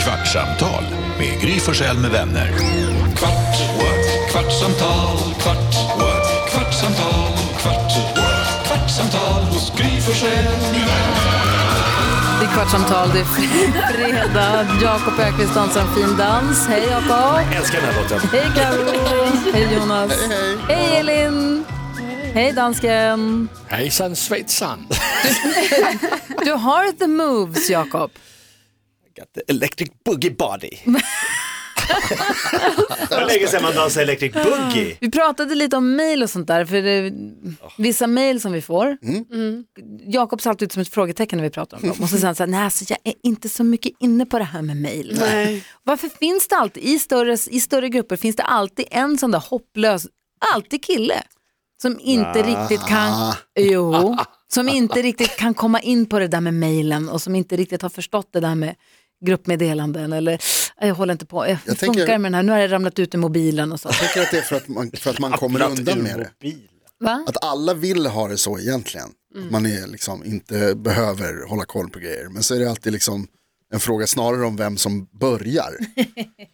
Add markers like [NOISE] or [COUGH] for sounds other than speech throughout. Kvartsamtal med Gry Forssell med vänner. Kvart, what? kvartsamtal, kvart, what? kvartsamtal, kvart, what? kvartsamtal hos Gry Forssell med vänner. Det är kvartsamtal, det är fredag. Jakob Ökvist dansar en fin dans. Hej Jakob! Jag älskar den här låten. Hej Karo! Hej Jonas! Hej, Elin! Hej dansken! Hejsan svejsan. Du har the moves Jakob. Got the electric boogie body. [LAUGHS] Det var länge sedan man dansade electric boogie. Vi pratade lite om mejl och sånt där, för det är vissa mejl som vi får. Mm. Jakob ser alltid ut som ett frågetecken när vi pratar om dem. Och så säger han så här, nej alltså jag är inte så mycket inne på det här med mejl. Varför finns det alltid, i större, i större grupper, finns det alltid en sån där hopplös, alltid kille, som inte riktigt kan, jo, som inte riktigt kan komma in på det där med mejlen och som inte riktigt har förstått det där med gruppmeddelanden eller "Nej, jag håller inte på, jag, Jag funkar tänker- med den här, nu har jag ramlat ut ur mobilen och så. tycker att det är för att man, för att man kommer undan med det. Va? Att alla vill ha det så egentligen. Att man är liksom inte behöver hålla koll på grejer. Men så är det alltid liksom en fråga snarare om vem som börjar.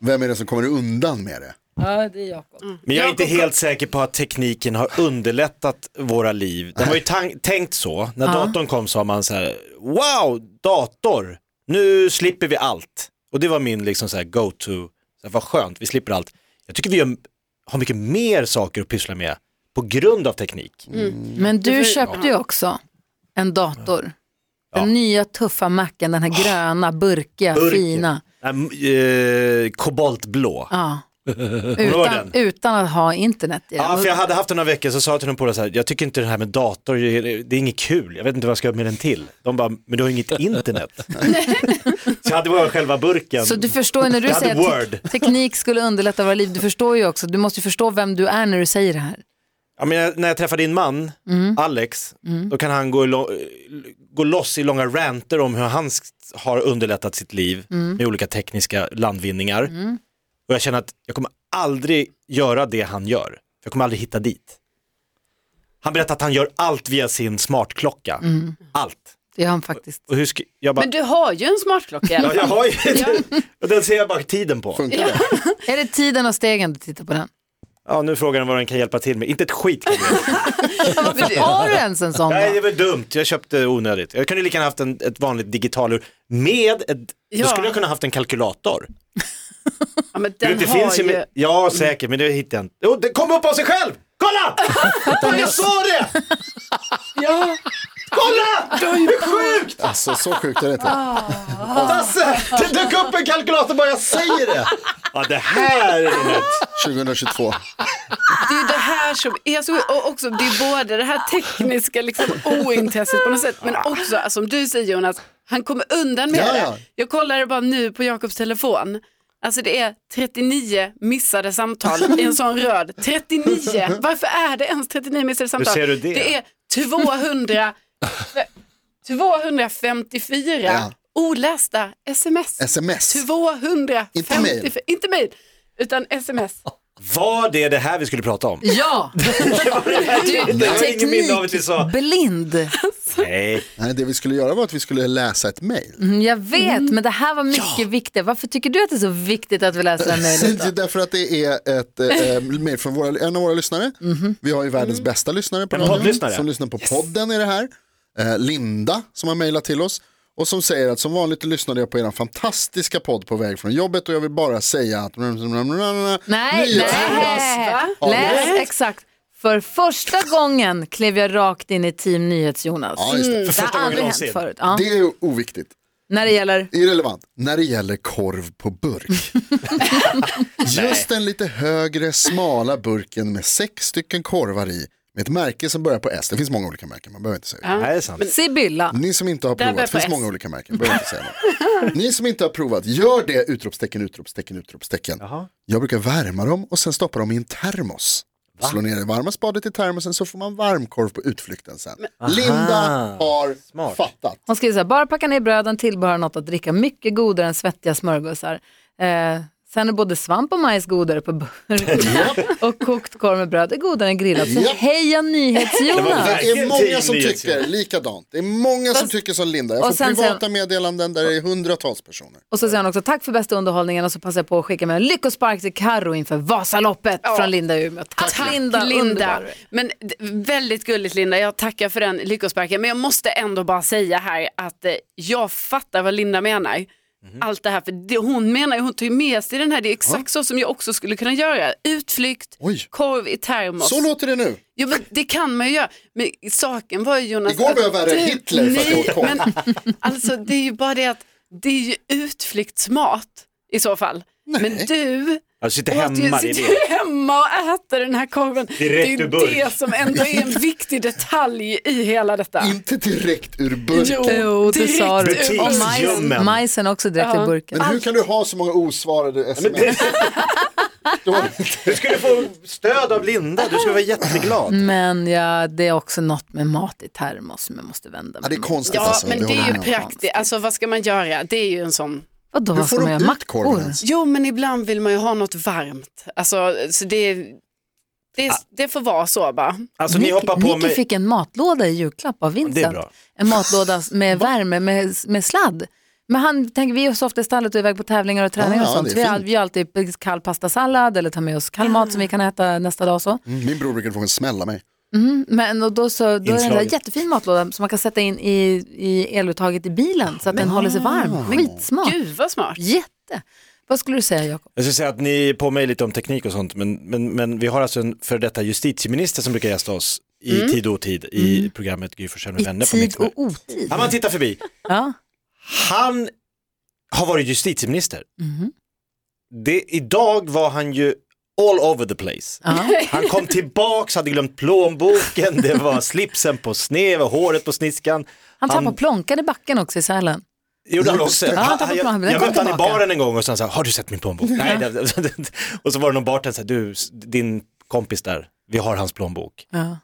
Vem är det som kommer undan med det? Ja, det är Jakob. Men jag är inte helt säker på att tekniken har underlättat våra liv. Den var ju tan- tänkt så. När datorn kom sa man så här, wow, dator, nu slipper vi allt. Och det var min liksom så här go-to, så här, vad skönt, vi slipper allt. Jag tycker vi gör- har mycket mer saker att pyssla med på grund av teknik. Mm, Men du köpte ju också en dator. Den Ja. nya tuffa macken, den här gröna, burkiga, Burken. fina. Nej, eh, koboltblå. [LAUGHS] Ja. var Utan, den? utan att ha internet i Ja, den. för jag hade haft den några veckor så sa jag till de polare så här, jag tycker inte det här med dator, det är inget kul, jag vet inte vad jag ska göra med den till. De bara, men du har ju [LAUGHS] inget internet. [LAUGHS] så jag hade bara själva burken. Så du förstår ju när du Jag hade säger att te- Word. [LAUGHS] teknik skulle underlätta våra liv, du förstår ju också, du måste ju förstå vem du är när du säger det här. ja, men jag, när jag träffar din man, Mm. Alex, då kan han gå, i lo- gå loss i långa ranter om hur han s- har underlättat sitt liv Mm. med olika tekniska landvinningar. Och jag känner att jag kommer aldrig göra det han gör, för jag kommer aldrig hitta dit. Han berättar att han gör allt via sin smartklocka. Mm. Allt. Det har han faktiskt. Och hur ska, jag bara, Men du har ju en smartklocka i alla Ja, fall. jag har ju [LAUGHS] och den ser jag bara tiden på. Funkar det? Är det tiden och stegen du tittar på den? Ja, nu frågar den vad den kan hjälpa till med. Inte ett skit kan jag [LAUGHS] göra. Varför har du ens en sån Nej, det då? är väl dumt. Jag köpte onödigt. Jag kunde lika gärna haft en, ett vanligt digitalur med ett, Ja. då skulle jag kunna haft en kalkylator. Ja, men Du den vet, det har finns ju... ju... med- Ja, säkert, men det hittar jag inte. Jo, det kom upp av sig själv! Kolla! [LAUGHS] Fan, jag såg det! Ja, Kolla! Hur sjukt! Alltså så sjukt är det inte. Ah. Tasse, det dök upp en kalkylator bara jag säger [LAUGHS] det. Ja, det här är något. 2022. det är ju det här som är så... Och också, det är både det här tekniska liksom, ointresset på något sätt, men också alltså, som du säger Jonas, han kommer undan med Ja, ja. det. Jag kollade bara nu på Jakobs telefon. Alltså det är 39 missade samtal i en sån röd. 39! Varför är det ens 39 missade samtal? ser du det? det är 200, 254 Ja. olästa sms. Sms. 254. Inte mail. Inte mail, utan [LAUGHS] sms. Var det det här vi skulle prata om? [LAUGHS] Ja, Det har jag ingen minne av att vi sa. blind. Nej, Nej, det vi skulle göra var att vi skulle läsa ett mejl. Mm, Jag vet, men det här var mycket viktigt. Varför tycker du att det är så viktigt att vi läser det här mejlet? [LAUGHS] Det är Därför att det är ett eh, mejl från våra, en av våra lyssnare. Vi har ju världens bästa lyssnare på En radion, poddlyssnare. Som lyssnar på podden i det här. Eh, Linda som har mejlat till oss. Och som säger att som vanligt lyssnade jag på er fantastiska podd på väg från jobbet och jag vill bara säga att... Nej, Nya- nej. Ja, Läs exakt. För första gången klev jag rakt in i Team NyhetsJonas. Ja, just [LAUGHS] Det för det. har första gången aldrig hänt någonsin. förut. Ja. Det är oviktigt. När det gäller, Irrelevant. När det gäller korv på [LAUGHS] burk. Just den lite högre smala burken med sex stycken korvar i. Med ett märke som börjar på S. Det finns många olika märken, man behöver inte säga det. det här är sant. Sibylla, Ni som inte har Där börjar provat, finns på S. många olika märken, behöver inte säga något. Ni som inte har provat, gör det! Utropstecken, utropstecken, utropstecken. Jag brukar värma dem och sen stoppa dem i en termos. Slå ner det varma spadet i termosen så får man varmkorv på utflykten sen. Linda har fattat. hon skriver så här, bara packa ner bröden, tillbehör något att dricka, mycket godare än svettiga smörgåsar. Eh, Sen är både svamp och majs godare på burk. och kokt korv med bröd är godare än grillat. Så Japp. heja Det var NyhetsJonas! Det är Vilken många som tidning, tycker likadant. Det är många som tycker som Linda. Jag och får sen privata säger- meddelanden där det är hundratals personer. Och så säger han också tack för bästa underhållningen och så passar jag på att skicka med en lyckospark till Karo inför Vasaloppet från Linda i Umeå. Tack, Linda, Linda. underbar. Men d- väldigt gulligt Linda, jag tackar för den lyckosparken. Men jag måste ändå bara säga här att eh, jag fattar vad Linda menar. Mhm. Allt det här, för det hon menar, ju- hon tar ju med sig den här, det är exakt så som jag också skulle kunna göra. Utflykt, Oj. korv i termos. Så låter det nu. Jo, men det kan man ju göra. Men saken var ju Jonas... Igår var jag att värre än du- Hitler för att jag åt korv. men, Alltså det är ju bara det att det är ju utflyktsmat i så fall. Men du Jag sitter åt ju, hemma, det är sitter det. ju hemma och äter den här korven. Direkt det är ur ju burk. det som ändå är en viktig detalj i hela detta. Inte direkt ur Jo, burken. Jo, det sa direkt du. ur Och majsen, Butiksljummen. majsen också direkt ur burken. Men hur kan du ha så många osvarade sms? [LAUGHS] Du skulle få stöd av Linda, du skulle Mm. vara jätteglad. Men ja, det är också något med mat i termos som jag måste vända Ja, mig det är mot. konstigt Ja, alltså. men det håller är jag ju med om. praktiskt. Alltså vad ska man göra? Det är ju en sån... Vadå, Hur vad ska får man göra? de ut korven Mackor? ens? Jo, men ibland vill man ju ha något varmt. Alltså, så det, det, Ah. det får vara så bara. Alltså ni Nicky, hoppar på Nicky mig. fick en matlåda i julklapp av Vincent. Det är bra. En matlåda med värme, med, med sladd. Men han tänker, vi är så ofta i stallet och är iväg på tävlingar och träningar Ja, och ja, sånt. det är Vi har, fint. vi har alltid kall pastasallad eller tar med oss kall mat som vi kan äta nästa dag och så. Mm, Min bror brukar fråga smälla mig. Mm. Men och då, så, då är det en där Inslaget. jättefin matlåda som man kan sätta in i, i eluttaget i bilen så att den håller sig varm. Ah. Skitsmart. Gud vad smart. Jätte. Vad skulle du säga Jakob? Jag skulle säga att ni är på mig lite om teknik och sånt, men, men, men vi har alltså en före detta justitieminister som brukar gästa oss i tid och otid i programmet Gry Forssell med Mm. I vänner. på Mix tid och Megapol. otid. Ja, man tittar förbi. Ja. Han har varit justitieminister. Mm-hmm. Det, idag var han ju all over the place. Ja. Han kom tillbaks, hade glömt plånboken, det var slipsen på sned, håret på sniskan. Han tappade Han- plånkan i backen också i Sälen. Gjorde han också? han tappade jag plånboken, den jag kom mötte han i tillbaka. baren en gång och sen sa han, har du sett min plånbok? Nej, det, och så var det någon bartender som sa, du, s- din kompis där, vi har hans plånbok. Ja.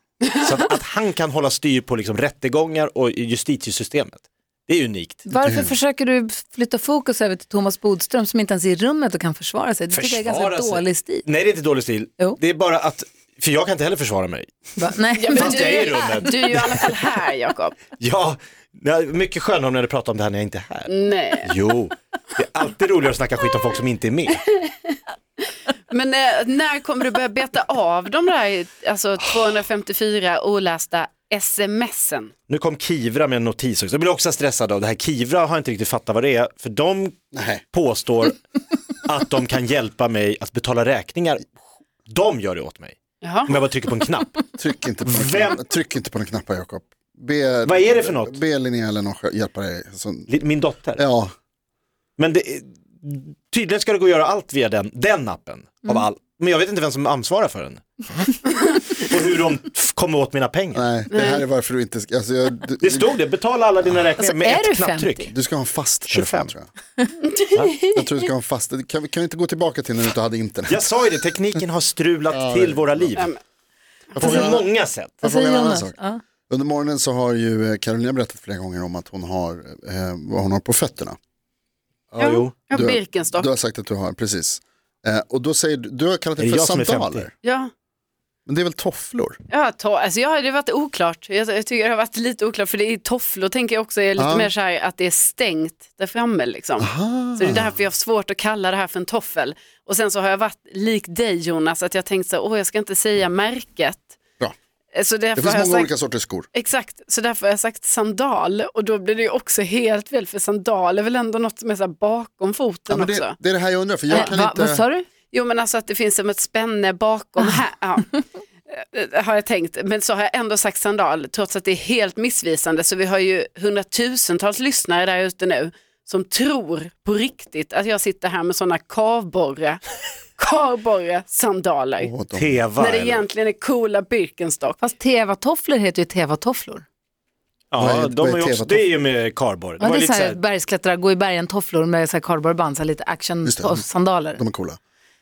Så att, att han kan hålla styr på liksom rättegångar och i justitiesystemet, det är unikt. Varför försöker du flytta fokus över till Thomas Bodström som inte ens är i rummet och kan försvara sig? Det tycker jag är Försvara sig. ganska dålig stil. Nej, det är inte dålig stil. Jo. Det är bara att, för jag kan inte heller försvara mig. [LAUGHS] Va? Nej, Ja, men men du, det är är i ju- rummet. du är ju i alla fall här Jakob. Ja, nej, mycket skönare när du pratar om det här när jag inte är Mm. här. Nej. Jo, det är alltid roligare att snacka skit om folk som inte är med. Men eh, när kommer du börja beta av de där alltså, 254 olästa smsen? Nu kom Kivra med en notis också. Jag blir också stressad av det här. Kivra har inte riktigt fattat vad det är, för de Nej. påstår att de kan hjälpa mig att betala räkningar. De gör det åt mig. Jaha. Om jag bara trycker på en knapp. Tryck inte på den Vem- knappen, Tryck inte på den knappen Jakob. Be, Vad är det för något? Be Linnea eller någon hjälpa dig. Så, Min dotter. ja, Men det, tydligen ska det gå att göra allt via den, den appen. Mm. Av all, men jag vet inte vem som ansvarar för den. [LAUGHS] Och hur de f- kommer åt mina pengar. nej, det här är varför du inte ska, alltså, jag, du, [LAUGHS] Det stod det, betala alla dina räkningar Alltså, med är ett du knapptryck. 50? du ska ha en fast 25. telefon tror jag. [LAUGHS] jag tror du ska ha en fast, kan, vi- kan vi inte gå tillbaka till när du inte hade internet? Jag sa ju det, tekniken har strulat till våra liv. men- På många sätt. Jag Vad frågar säger en Jonas? annan sak. Ja. Under morgonen så har ju eh, Carolina berättat flera gånger om att hon har, eh, vad hon har på fötterna. Ja, jo. Ja, Du- Birkenstock. Du har sagt att du har, precis. Eh, och då säger du, du har kallat Är det det för jag som är 50? sandaler. Ja, det Men det är väl tofflor? ja, to- alltså, ja, det har varit oklart. Jag, jag tycker det har varit lite oklart för det är tofflor tänker jag också är lite Ja. mer så här att det är stängt där framme liksom. Ah. Så det är därför jag har svårt att kalla det här för en toffel. Och sen så har jag varit lik dig Jonas att jag tänkt så här, åh jag ska inte säga märket. Bra. Eh, Så därför Det finns har jag många sagt, olika sorters skor. Exakt, så därför har jag sagt sandal och då blir det ju också helt fel för sandal är väl ändå något som är så här bakom foten Ja, men också. det, det är det här jag undrar, för jag kan Eh, Va, inte... vad sa du? Jo men alltså att det finns som ett spänne bakom här. Ja. Eh, Har jag tänkt, men så har jag ändå sagt sandal trots att det är helt missvisande så vi har ju hundratusentals lyssnare där ute nu som tror på riktigt att jag sitter här med sådana kavborre, kavborre sandaler. Åh, de- Teva. när det eller? egentligen är coola Birkenstock. Fast tevatofflor heter ju tevatofflor. Vad Ja, är- de vad är är ju också, Teva-tofflor? det är ju med cardboard. Ja, var det är lite så så här här- bergsklättrare, gå i bergen tofflor med så här cardboardband, så här lite action Just det. toff- sandaler. Eh, De är coola.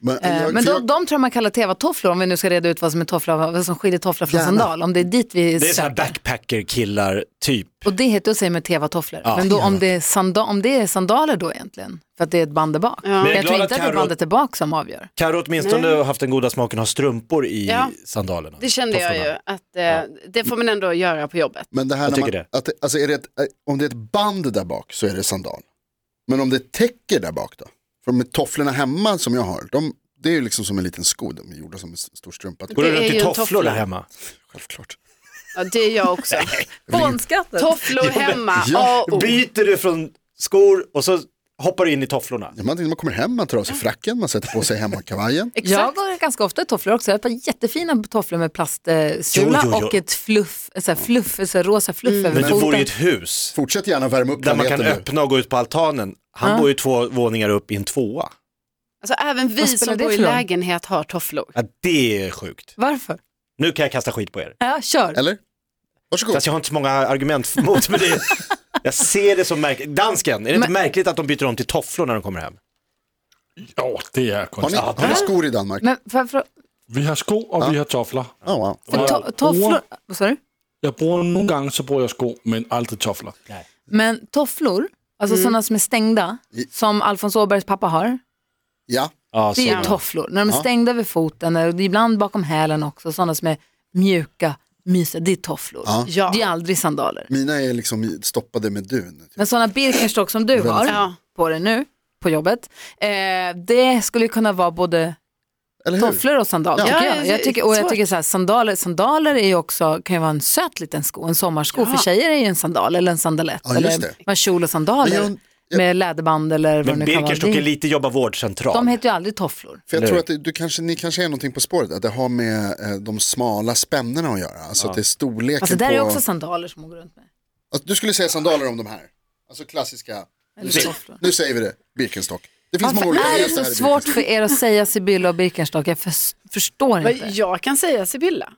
Men, jag- Men för de, jag- de tror jag man kallar tevatofflor om vi nu ska reda ut vad som, är toffla, vad som skiljer toffla från Gärna. sandal. Om det är dit vi Det är sådana söker. här backpacker-killar, typ. Och det heter att säga med tevatofflor. Men då, om, det är sanda, om det är sandaler då egentligen, för att det är ett band där bak. Men Men jag är jag tror glad inte att att det är Karo- bandet där bak som avgör. Kan du åtminstone Nej. ha haft den goda smaken att ha strumpor i Ja. sandalerna? Det kände jag Tofflorna. ju att eh, det får man ändå göra på jobbet. Men det här Jag när man, tycker Att, det- alltså är det ett, om det är ett band där bak så är det sandal. Men om det är täcker där bak då? För med tofflorna hemma som jag har, de, det är ju liksom som en liten sko, de är gjorda som en s- stor strumpa. Går Det du är runt ju i en tofflor toffla. där hemma? Självklart. Ja, det är jag [LAUGHS] också. Bånskattet. Tofflor hemma, Ja, A och O. Byter du från skor och så hoppar du in i tofflorna? Ja, Man, man kommer hem, man tar av sig fracken, man sätter på sig hemmakavajen. Jag Exakt. går ganska ofta i tofflor också. Jag har ett par jättefina tofflor med plastsula Jo, jo, jo. och ett fluff, eh, så här fluff, så här rosa fluff över Men du bor i foten. ett hus Fortsätt gärna värma upp där man planeten kan nu. öppna och gå ut på altanen. Han bor ju två våningar upp i en tvåa. Alltså även vi Vad spelar som det bor i för roll? lägenhet har tofflor. Ja, det är sjukt. Varför? Nu kan jag kasta skit på er. Ja, kör. Eller? [LAUGHS] Varsågod. Fast jag har inte så många argument mot men det. Jag ser det som märkligt. Dansken, är det inte Men- märkligt att de byter om till tofflor när de kommer hem? Jo, det er Har ni, konstigt. har ni skor i Danmark? Men för, för, Vi har sko, og vi har toffler. Ja, wow. för to, tofflor, vad sa du? Jeg bruger nogle gange, så bruger jeg sko, men aldrig toffler. Men tofflor, alltså sådana som är stängda, som Alfons Åbergs pappa har, ja. Ja, det är ju så. tofflor. När de är stängda vid foten, och ibland bakom hälen också, sådana som är mjuka, mysiga, det är tofflor. Ja. Det är aldrig sandaler. Mina är liksom stoppade med dun. Men sådana Birkenstock som du har Ja. på dig nu, på jobbet, eh, det skulle ju kunna vara både Eller hur? tofflor och sandaler. tycker Ja. Ja, jag. det är Jag tycker, och jag svårt. tycker så här, sandaler, sandaler är ju också, kan ju vara en söt liten sko, en sommarsko. För tjejer är ju en sandal eller en sandalett. Ja, just eller det. man har kjol och sandaler Men jag- jag- med läderband eller vad det Men nu kan vara. Birkenstock Det- är lite jobba vårdcentral. De heter ju aldrig tofflor. För jag Eller tror hur? att det- du kanske, ni kanske är någonting på spåret, att det har med eh, de smala spännena att göra. Alltså att det är storleken Alltså där på... är också sandaler som man går runt med. Alltså, du skulle säga sandaler om de här. Alltså klassiska. Nu, Eller säger- tofflor. nu säger vi det, Birkenstock. Det finns många Varför olika är det resor så här i svårt Birkenstock. för er att säga Sibylla och Birkenstock? Jag förs- förstår Vad inte. jag kan säga Sibylla.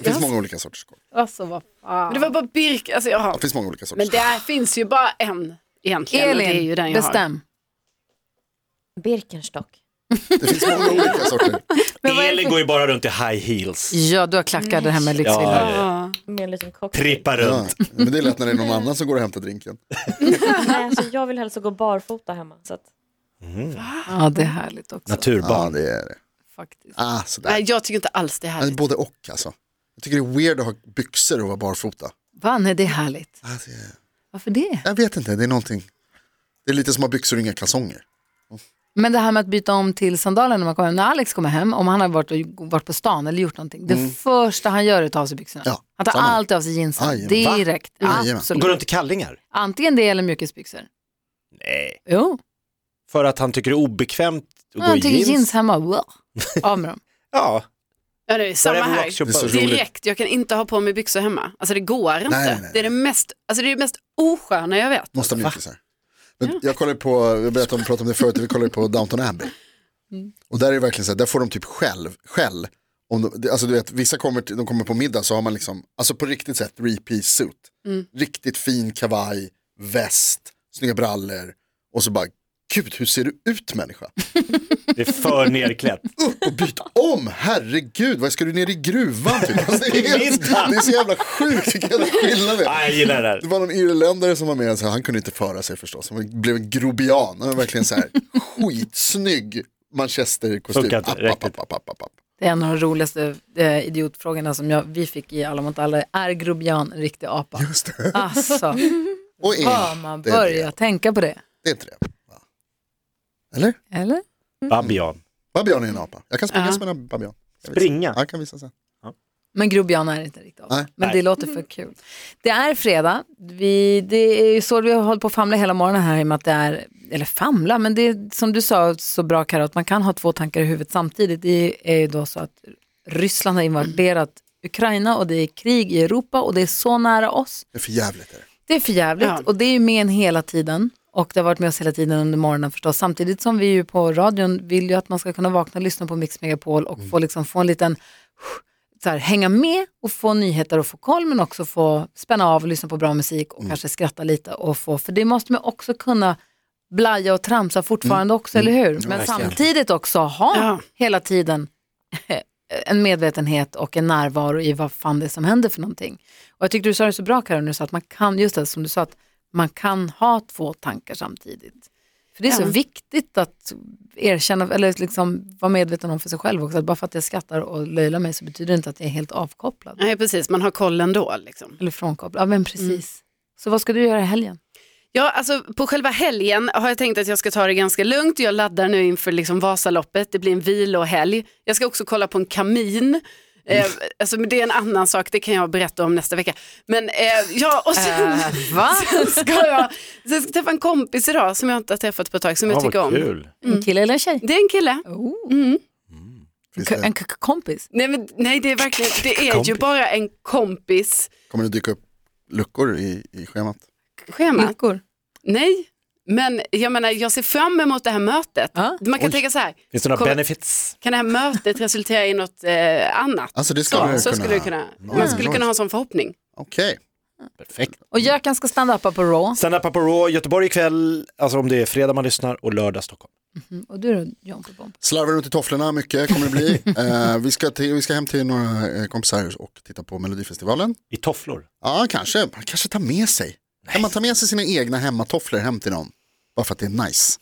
Det finns många olika sorters skor. Alltså, vad fan. Men det var bara Birk, alltså jag Det har. finns många olika Men sorters skor. det finns ju bara en egentligen. och det är ju den Elin, jag har. bestäm. Birkenstock. Det finns många olika sorter. Elin går ju bara runt i high heels. Ja, du har klackar där hemma i lyxvillan. Mm. Ja, Ja. Med en liten cocktail. trippar Ja, runt. men det är lätt när det är någon annan som går och hämtar drinken. Nej, alltså, jag vill helst gå barfota hemma. Så att, Ja, det är härligt också. Ja, Naturbarn. det är det. Faktiskt. Ah, sådär. Nej, jag tycker inte alls det är Men härligt. både och alltså. Jag tycker det är weird att ha byxor och vara barfota. Va, nej, det är härligt. Ah, det är- Varför det? Jag vet inte, det är någonting. Det är lite som att ha byxor och inga kalsonger. Men det här med att byta om till sandaler när man kommer hem. När Alex kommer hem, om han har varit, och- varit på stan eller gjort någonting, det första han gör är att ta av sig byxorna. Mm. Ja, han tar samma. alltid av sig jeansen. Aj, va? direkt. Jajamän. Och går Absolut. runt i kallingar. Antingen det eller mjukisbyxor. Nej. Jo, För att han tycker det är obekvämt att gå han i tycker jeans. jeans, hemma, [LAUGHS] wow. av med dem. Ja, Ja, det är samma whatever här. rocks your Det är så boat. roligt. Direkt, jag kan inte ha på mig byxor hemma. Alltså det går inte. nej, nej. Det är det mest, alltså det är det mest osköna jag vet. Måste ha mjukisar. Men jag kollade på, jag berättade om, pratade om det förut, vi kollade på Downton Abbey. Och där är det verkligen så här, där får de typ själv, skäll. Om de, det- alltså du vet, vissa kommer, till, de kommer på middag så har man liksom, alltså på riktigt sätt, three piece suit. Riktigt fin kavaj, väst, snygga brallor och så bara, gud hur ser du ut människa? Det är för [LAUGHS] nerklätt. Upp och byt om, herregud, vad ska du ner i gruvan typ? Alltså, det, är helt, det är så jävla sjukt, vilken jävla skillnad det är. Nej, jag gillar det här. Det var någon irländare som var med, så här, han kunde inte föra sig förstås. Han blev en grobian, han var verkligen så här skitsnygg manchesterkostym. Funkar inte, App, räckligt. app, app, app, app, app, app. Det är en av de roligaste eh, idiotfrågorna som jag, vi fick i Alla mot alla. Är Grobian en riktig apa? Just det. [LAUGHS] Alltså, Och inte har man börjar det. tänka på det. Det är inte det. va? Eller? Eller? Babian. Babian är en apa. Jag kan springa Ja. som en babian. Jag vet. Springa. Ja, jag kan visa sen. Men grobian är inte riktigt av. Nej. Men det Nej. låter för kul. Det är fredag. Vi, det är ju så vi har hållit på att famla hela morgonen här i och med att det är, eller famla, men det är som du sa så bra Karo, att man kan ha två tankar i huvudet samtidigt. Det är ju då så att Ryssland har invaderat Ukraina och det är krig i Europa och det är så nära oss. Det är för jävligt. Är det. Det är för jävligt Ja. och det är ju med en hela tiden. Och det har varit med oss hela tiden under morgonen förstås. Samtidigt som vi ju på radion vill ju att man ska kunna vakna och lyssna på Mix Megapol och få, liksom, få en liten så här, hänga med och få nyheter och få koll men också få spänna av och lyssna på bra musik och kanske skratta lite och få, för det måste man också kunna blaja och tramsa fortfarande också, eller hur? Men samtidigt också ha Ja. hela tiden [LAUGHS] en medvetenhet och en närvaro i vad fan det är som händer för någonting. Och jag tyckte du sa det så bra Karin, du sa att man kan, just det som du sa, att man kan ha två tankar samtidigt. För det är så viktigt att erkänna, eller liksom vara medveten om för sig själv också, att bara för att jag skrattar och löjlar mig så betyder det inte att jag är helt avkopplad. Nej, precis, man har koll ändå. Liksom. Eller frånkopplad, ja men precis. Så vad ska du göra i helgen? Ja, alltså, på själva helgen har jag tänkt att jag ska ta det ganska lugnt. Jag laddar nu inför liksom Vasaloppet, det blir en vilohelg. Jag ska också kolla på en kamin. Eh, alltså, men det är en annan sak, det kan jag berätta om nästa vecka. Men eh, ja, och sen, [LAUGHS] va? sen, ska jag, sen ska jag träffa en kompis idag som jag inte har träffat på ett tag, som jag tycker om. kul. En kille eller en tjej? Det är en kille. Oh. Finns En det, k- k- kompis? Nej, men, nej, det är verkligen, det är ju bara en kompis. kommer det dyka upp luckor i, i schemat? Schemat. Lyckor? Nej, men jag menar, jag ser fram emot det här mötet. Ja. Man kan tänka så här, Finns det några Kolla- benefits? kan det här mötet resultera i något eh, annat? Alltså det skulle Så, det så kunna. skulle det kunna, man Nice, skulle nice. kunna ha en sån förhoppning. Okej, Perfekt. Och Jökan ska stand-upa på Raw. Stand-up på Raw, Göteborg ikväll, alltså om det är fredag man lyssnar och lördag Stockholm. Mm, Och du då, John Popom? slarvar runt i tofflorna mycket kommer det bli. [LAUGHS] eh, vi, ska till, vi ska hem till några eh, kompisar och titta på Melodifestivalen. I tofflor. Ja, kanske. Man kanske tar med sig. Kan man ta med sig sina egna hemmatofflor hem till någon? Bara för att det är nice.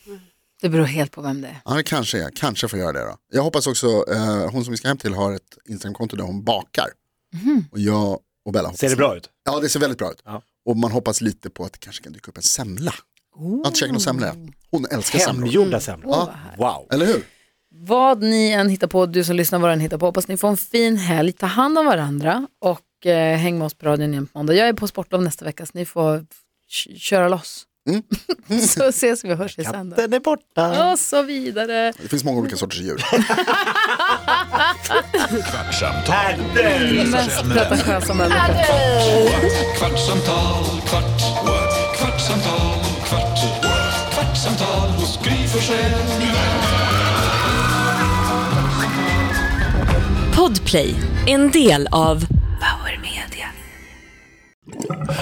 Det beror helt på vem det är. Ja, det kanske jag. Kanske får göra det då. Jag hoppas också, eh, hon som vi ska hem till har ett Instagramkonto där hon bakar. Och jag och Bella hoppas. Mhm. Ser det bra ut? Ja, det ser väldigt bra ut. Ja. Och man hoppas lite på att det kanske kan dyka upp en semla. Jag har inte käkat någon semla än. Hon älskar semlor. Hemgjorda semlor. Ja. Wow. Eller hur? Vad ni än hittar på, du som lyssnar vad du än hittar på, hoppas ni får en fin helg, ta hand om varandra och eh, häng med oss på radion igen på måndag. Jag är på sportlov nästa vecka så ni får k- köra loss. [LAUGHS] så ses vi och hörs vi sen då. Den är borta. Och så vidare. Det finns många olika sorters djur. Kvartsamtal. Mest prata sköts om människor. Kvartsamtal, kvart, what? kvartsamtal, kvart, what? kvartsamtal hos Gry Forssell med vänner. Podplay, en del av Power Media.